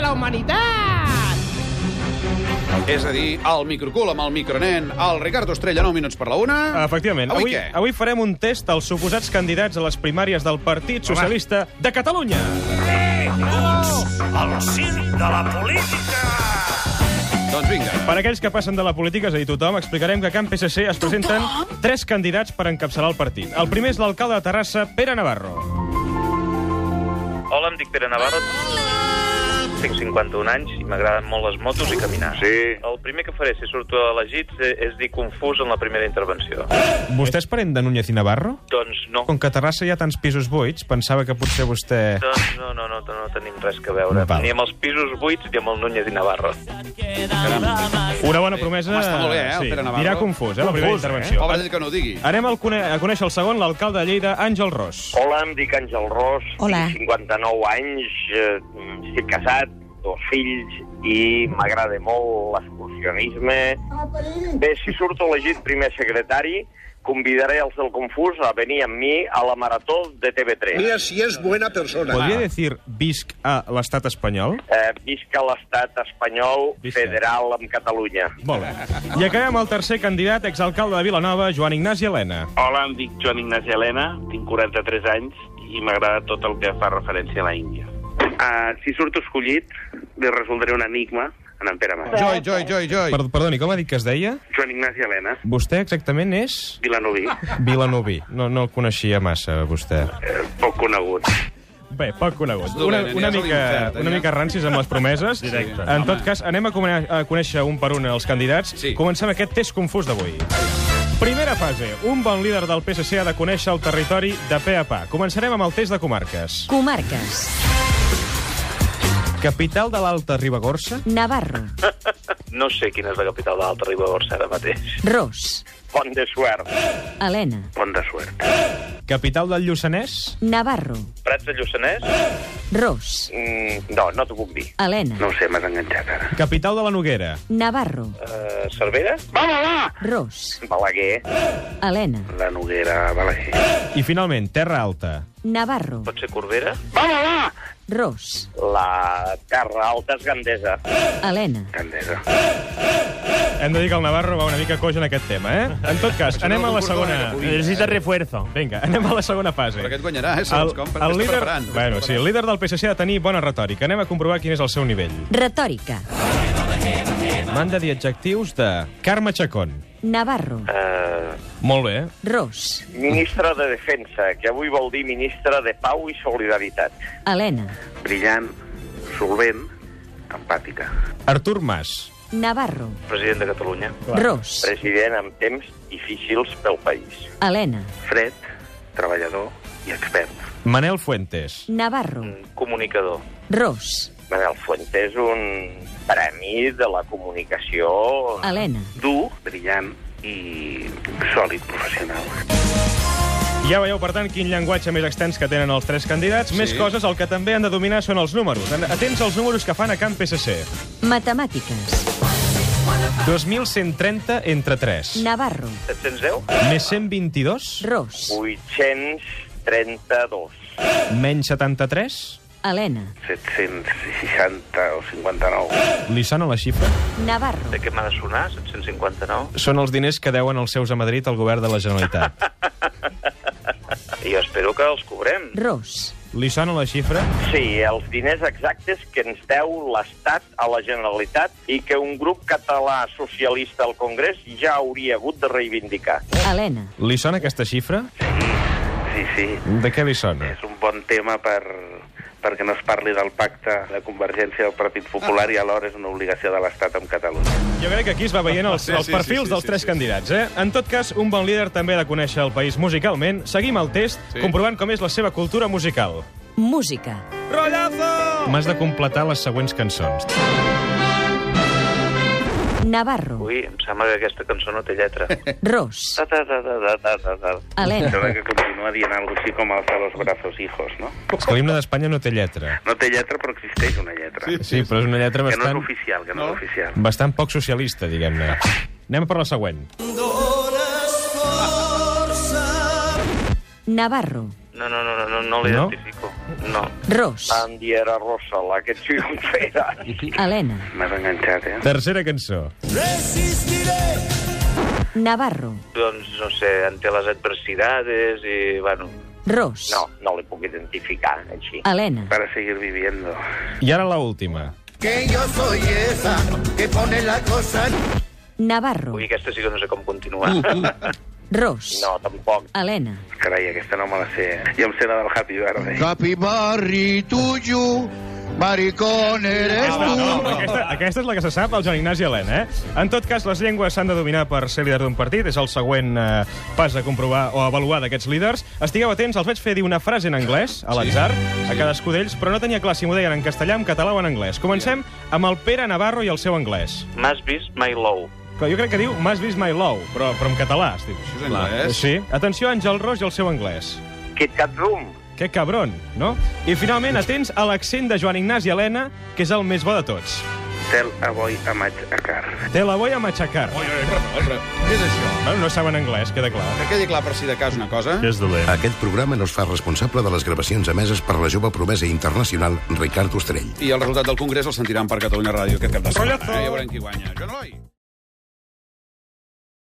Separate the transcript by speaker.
Speaker 1: la humanitat!
Speaker 2: És a dir, el microcul amb el micronen, el Ricardo Estrella, 9 minuts per la una.
Speaker 3: Ah, Efectivament.
Speaker 2: Avui,
Speaker 3: Avui,
Speaker 2: què?
Speaker 3: avui farem un test als suposats candidats a les primàries del Partit Socialista de Catalunya.
Speaker 4: El circ de la política!
Speaker 2: Doncs vinga.
Speaker 3: Per aquells que passen de la política, és a dir, tothom, explicarem que a Camp PSC es presenten tres candidats per encapçalar el partit. El primer és l'alcalde de Terrassa, Pere Navarro.
Speaker 5: Hola, em dic Pere Navarro. Tinc 51 anys i m'agraden molt les motos i caminar.
Speaker 4: Sí.
Speaker 5: El primer que faré si surto elegit eh, és dir confús en la primera intervenció.
Speaker 3: Vostè és parent de Núñez i Navarro?
Speaker 5: Doncs no.
Speaker 3: Com que a Terrassa hi ha tants pisos buits, pensava que potser vostè...
Speaker 5: Doncs no, no, no, no tenim res que veure.
Speaker 3: Val.
Speaker 5: Ni amb els pisos buits ni amb el Núñez i Navarro.
Speaker 3: Una bona promesa...
Speaker 2: Home, està molt bé, eh, el Pere Navarro.
Speaker 3: Dirà confús, eh, la primera
Speaker 4: Confús, eh?
Speaker 3: intervenció.
Speaker 2: Pobre d'ell que no ho digui.
Speaker 3: Anem al cone a conèixer el segon, l'alcalde de Lleida, Àngel Ros.
Speaker 6: Hola, em dic Àngel Ros,
Speaker 7: Hola.
Speaker 6: tinc 59 anys, eh, estic casat, dos fills, i m'agrada molt l'excursionisme. Bé, si surto elegit primer secretari, convidaré els del Confús a venir amb mi a la Marató de TV3.
Speaker 8: Mira si es buena persona.
Speaker 3: Podria dir visc a l'estat espanyol?
Speaker 6: Eh, visca l'estat espanyol
Speaker 3: Visca.
Speaker 6: federal amb Catalunya.
Speaker 3: Molt bé. I acabem amb el tercer candidat, exalcalde de Vilanova, Joan Ignasi Helena.
Speaker 9: Hola, em dic Joan Ignasi Helena, tinc 43 anys i m'agrada tot el que fa referència a la Índia. Uh, si surto escollit, li resoldré un enigma en en Pere Mas.
Speaker 2: Joy, joy, joy, joy.
Speaker 3: Per perdoni, com ha dit que es deia?
Speaker 9: Joan Ignasi Helena,
Speaker 3: Vostè exactament és...
Speaker 9: Vilanoví,
Speaker 3: Vilanoví. No, no el coneixia massa, vostè.
Speaker 9: eh, poc conegut.
Speaker 3: Bé, poc conegut.
Speaker 2: dolent,
Speaker 3: Una,
Speaker 2: aniràs
Speaker 3: una,
Speaker 2: a
Speaker 3: mica,
Speaker 2: l'infern,
Speaker 3: una
Speaker 2: ja.
Speaker 3: mica rancis amb les promeses. Directe. En tot cas, anem a, cone a conèixer un per un els candidats.
Speaker 2: Sí.
Speaker 3: Comencem aquest test confús d'avui. Primera fase. Un bon líder del PSC ha de conèixer el territori de pe a pa. Començarem amb el test de comarques.
Speaker 7: Comarques.
Speaker 3: Capital de l'Alta Ribagorça?
Speaker 7: Navarro.
Speaker 5: No sé quina és la capital de l'Alta Ribagorça ara mateix.
Speaker 7: Ros.
Speaker 6: Pont de suert.
Speaker 7: Helena.
Speaker 9: Pont de suert.
Speaker 3: Capital del Lluçanès?
Speaker 7: Navarro.
Speaker 5: Prats de Lluçanès?
Speaker 7: Ros.
Speaker 6: Mm, no, no t'ho puc dir.
Speaker 7: Helena.
Speaker 9: No ho sé, m'has enganxat ara.
Speaker 3: Capital de la Noguera?
Speaker 7: Navarro.
Speaker 5: Eh, Cervera?
Speaker 7: Ros.
Speaker 6: Balaguer,
Speaker 7: Helena.
Speaker 9: La Noguera, Balaguer.
Speaker 3: I finalment, Terra Alta.
Speaker 7: Navarro.
Speaker 5: Pot ser Corbera?
Speaker 7: Ros.
Speaker 6: la Terra Alta és Gandesa.
Speaker 7: Helena.
Speaker 9: Candesa.
Speaker 3: Hem de dir que el Navarro va una mica coix en aquest tema, eh? En tot cas, anem a la
Speaker 2: eh,
Speaker 3: segona...
Speaker 2: Necessita
Speaker 3: refuerzo. Vinga, anem a la segona fase.
Speaker 2: Però aquest guanyarà, eh, segons com, perquè està preparant.
Speaker 3: Bueno, sí, el líder del PSC ha de tenir bona retòrica. Anem a comprovar quin és el seu nivell.
Speaker 7: Retòrica.
Speaker 3: M'han de dir adjectius de... Carme Chacón.
Speaker 7: Navarro.
Speaker 5: Eh,
Speaker 3: Molt bé.
Speaker 7: Ros.
Speaker 6: Ministre de Defensa, que avui vol dir ministre de Pau i Solidaritat.
Speaker 7: Helena.
Speaker 9: Brillant, solvent, empàtica.
Speaker 3: Artur Mas.
Speaker 7: Navarro.
Speaker 5: president de Catalunya.
Speaker 7: Ros.
Speaker 6: President amb temps difícils pel país.
Speaker 7: Helena.
Speaker 9: Fred, treballador i expert.
Speaker 3: Manel Fuentes.
Speaker 7: Navarro.
Speaker 5: Mm, Comunicador.
Speaker 7: Ros.
Speaker 6: Manel Fuentes, un premi de la comunicació.
Speaker 7: Helena.
Speaker 9: Dur, brillant i sòlid professional.
Speaker 3: Ja veieu, per tant, quin llenguatge més extens que tenen els tres candidats. Més coses, el que també han de dominar són els números. En- Atents als números que fan a Camp PSC.
Speaker 7: Matemàtiques.
Speaker 3: 2.130 entre 3.
Speaker 7: Navarro.
Speaker 5: 710?
Speaker 3: Més 122.
Speaker 7: Ros.
Speaker 6: 832.
Speaker 3: Menys 73.
Speaker 7: Helena.
Speaker 9: 760 o 59.
Speaker 3: Li sona la xifra?
Speaker 5: De
Speaker 7: Navarro.
Speaker 5: què m'ha de sonar? 759?
Speaker 3: Són els diners que deuen els seus a Madrid al govern de la Generalitat.
Speaker 5: I jo espero que els cobrem.
Speaker 7: Ros.
Speaker 3: Li sona la xifra?
Speaker 6: Sí, els diners exactes que ens deu l'Estat a la Generalitat i que un grup català socialista al Congrés ja hauria hagut de reivindicar.
Speaker 7: Helena.
Speaker 3: Li sona aquesta xifra?
Speaker 9: Sí, sí.
Speaker 3: De què li sona?
Speaker 9: És un bon tema per perquè no es parli del pacte de convergència del Partit Popular i alhora és una obligació de l'Estat amb Catalunya.
Speaker 3: Jo crec que aquí es va veient els,
Speaker 2: Sí,
Speaker 3: els
Speaker 2: sí,
Speaker 3: perfils
Speaker 2: sí, sí,
Speaker 3: dels
Speaker 2: sí,
Speaker 3: tres
Speaker 2: sí.
Speaker 3: candidats, eh? En tot cas, un bon líder també ha de conèixer el país musicalment. Seguim el test,
Speaker 2: Sí.
Speaker 3: comprovant com és la seva cultura musical.
Speaker 7: Música.
Speaker 3: M'has de completar les següents cançons.
Speaker 7: Navarro.
Speaker 5: Ui, em sembla que aquesta cançó no té lletra.
Speaker 7: Ros.
Speaker 9: Ta, ta, ta, ta, ta, ta, ta, ta.
Speaker 7: Helena.
Speaker 9: Sembla que continua dient alguna cosa així com alça los brazos, hijos, no?
Speaker 3: És que l'himne d'Espanya no té lletra.
Speaker 9: No té lletra, però existeix una lletra.
Speaker 3: Sí, però és una lletra
Speaker 9: Que no és
Speaker 3: bastant,
Speaker 9: oficial, que no,
Speaker 2: No?
Speaker 9: és oficial.
Speaker 3: bastant poc socialista, diguem-ne. Anem per la següent.
Speaker 7: Navarro.
Speaker 5: No, no, no, no, no, no l'identifico. No.
Speaker 7: Ros,
Speaker 6: Andiera Rossell, aquest sí que ho feia.
Speaker 7: Helena,
Speaker 9: M'has enganxat, eh?
Speaker 3: Tercera cançó.
Speaker 7: Navarro,
Speaker 5: Doncs, no sé, ante les adversidades i, bueno...
Speaker 7: Ros,
Speaker 6: No, no l'he puc identificar així.
Speaker 7: Helena,
Speaker 9: Para seguir viviendo.
Speaker 3: I ara la última.
Speaker 7: Navarro,
Speaker 5: Ui, aquesta sí que no sé com continuar.
Speaker 7: Ros,
Speaker 6: No, tampoc.
Speaker 7: Helena,
Speaker 9: Carai, aquesta no me la sé. Jo em sé la del Happy Verde.
Speaker 1: Capibarri tuyo, maricón eres
Speaker 3: Aquesta, Ah, no,
Speaker 1: tú.
Speaker 3: aquesta, aquesta és la que se sap, el Joan Ignasi Helena, eh? En tot cas, les llengües s'han de dominar per ser líder d'un partit. És el següent eh, pas a comprovar o a avaluar d'aquests líders. Estigueu atents, els vaig fer dir una frase en anglès, a l'atzar, a cadascú d'ells, però no tenia clar si m'ho deien en castellà, en català o en anglès. Comencem amb el Pere Navarro i el seu anglès.
Speaker 5: M'has vist My Low.
Speaker 3: Que Jo crec que diu M'has vist my love, però, però en català es diu.
Speaker 2: Això és anglès.
Speaker 3: Sí. Atenció a Àngel Ros i el seu anglès.
Speaker 6: Kit Kat Room.
Speaker 3: Que cabron, no? I finalment, atents a l'accent de Joan Ignasi Helena, que és el més bo de tots.
Speaker 9: Tel avui a maig a car.
Speaker 3: Te la voy a machacar.
Speaker 2: Oi, oi, però, no, però, què és això?
Speaker 3: Bueno, no saben anglès, queda clar.
Speaker 2: Que quedi clar per si de cas una cosa.
Speaker 3: És dolent.
Speaker 8: Aquest programa no es fa responsable de les gravacions emeses per la jove promesa internacional Ricard Ostrell.
Speaker 2: I el resultat del congrés el sentiran per Catalunya Ràdio aquest cap de setmana.
Speaker 3: Rotllazo.
Speaker 2: Ja veurem qui guanya. Joan Eloi.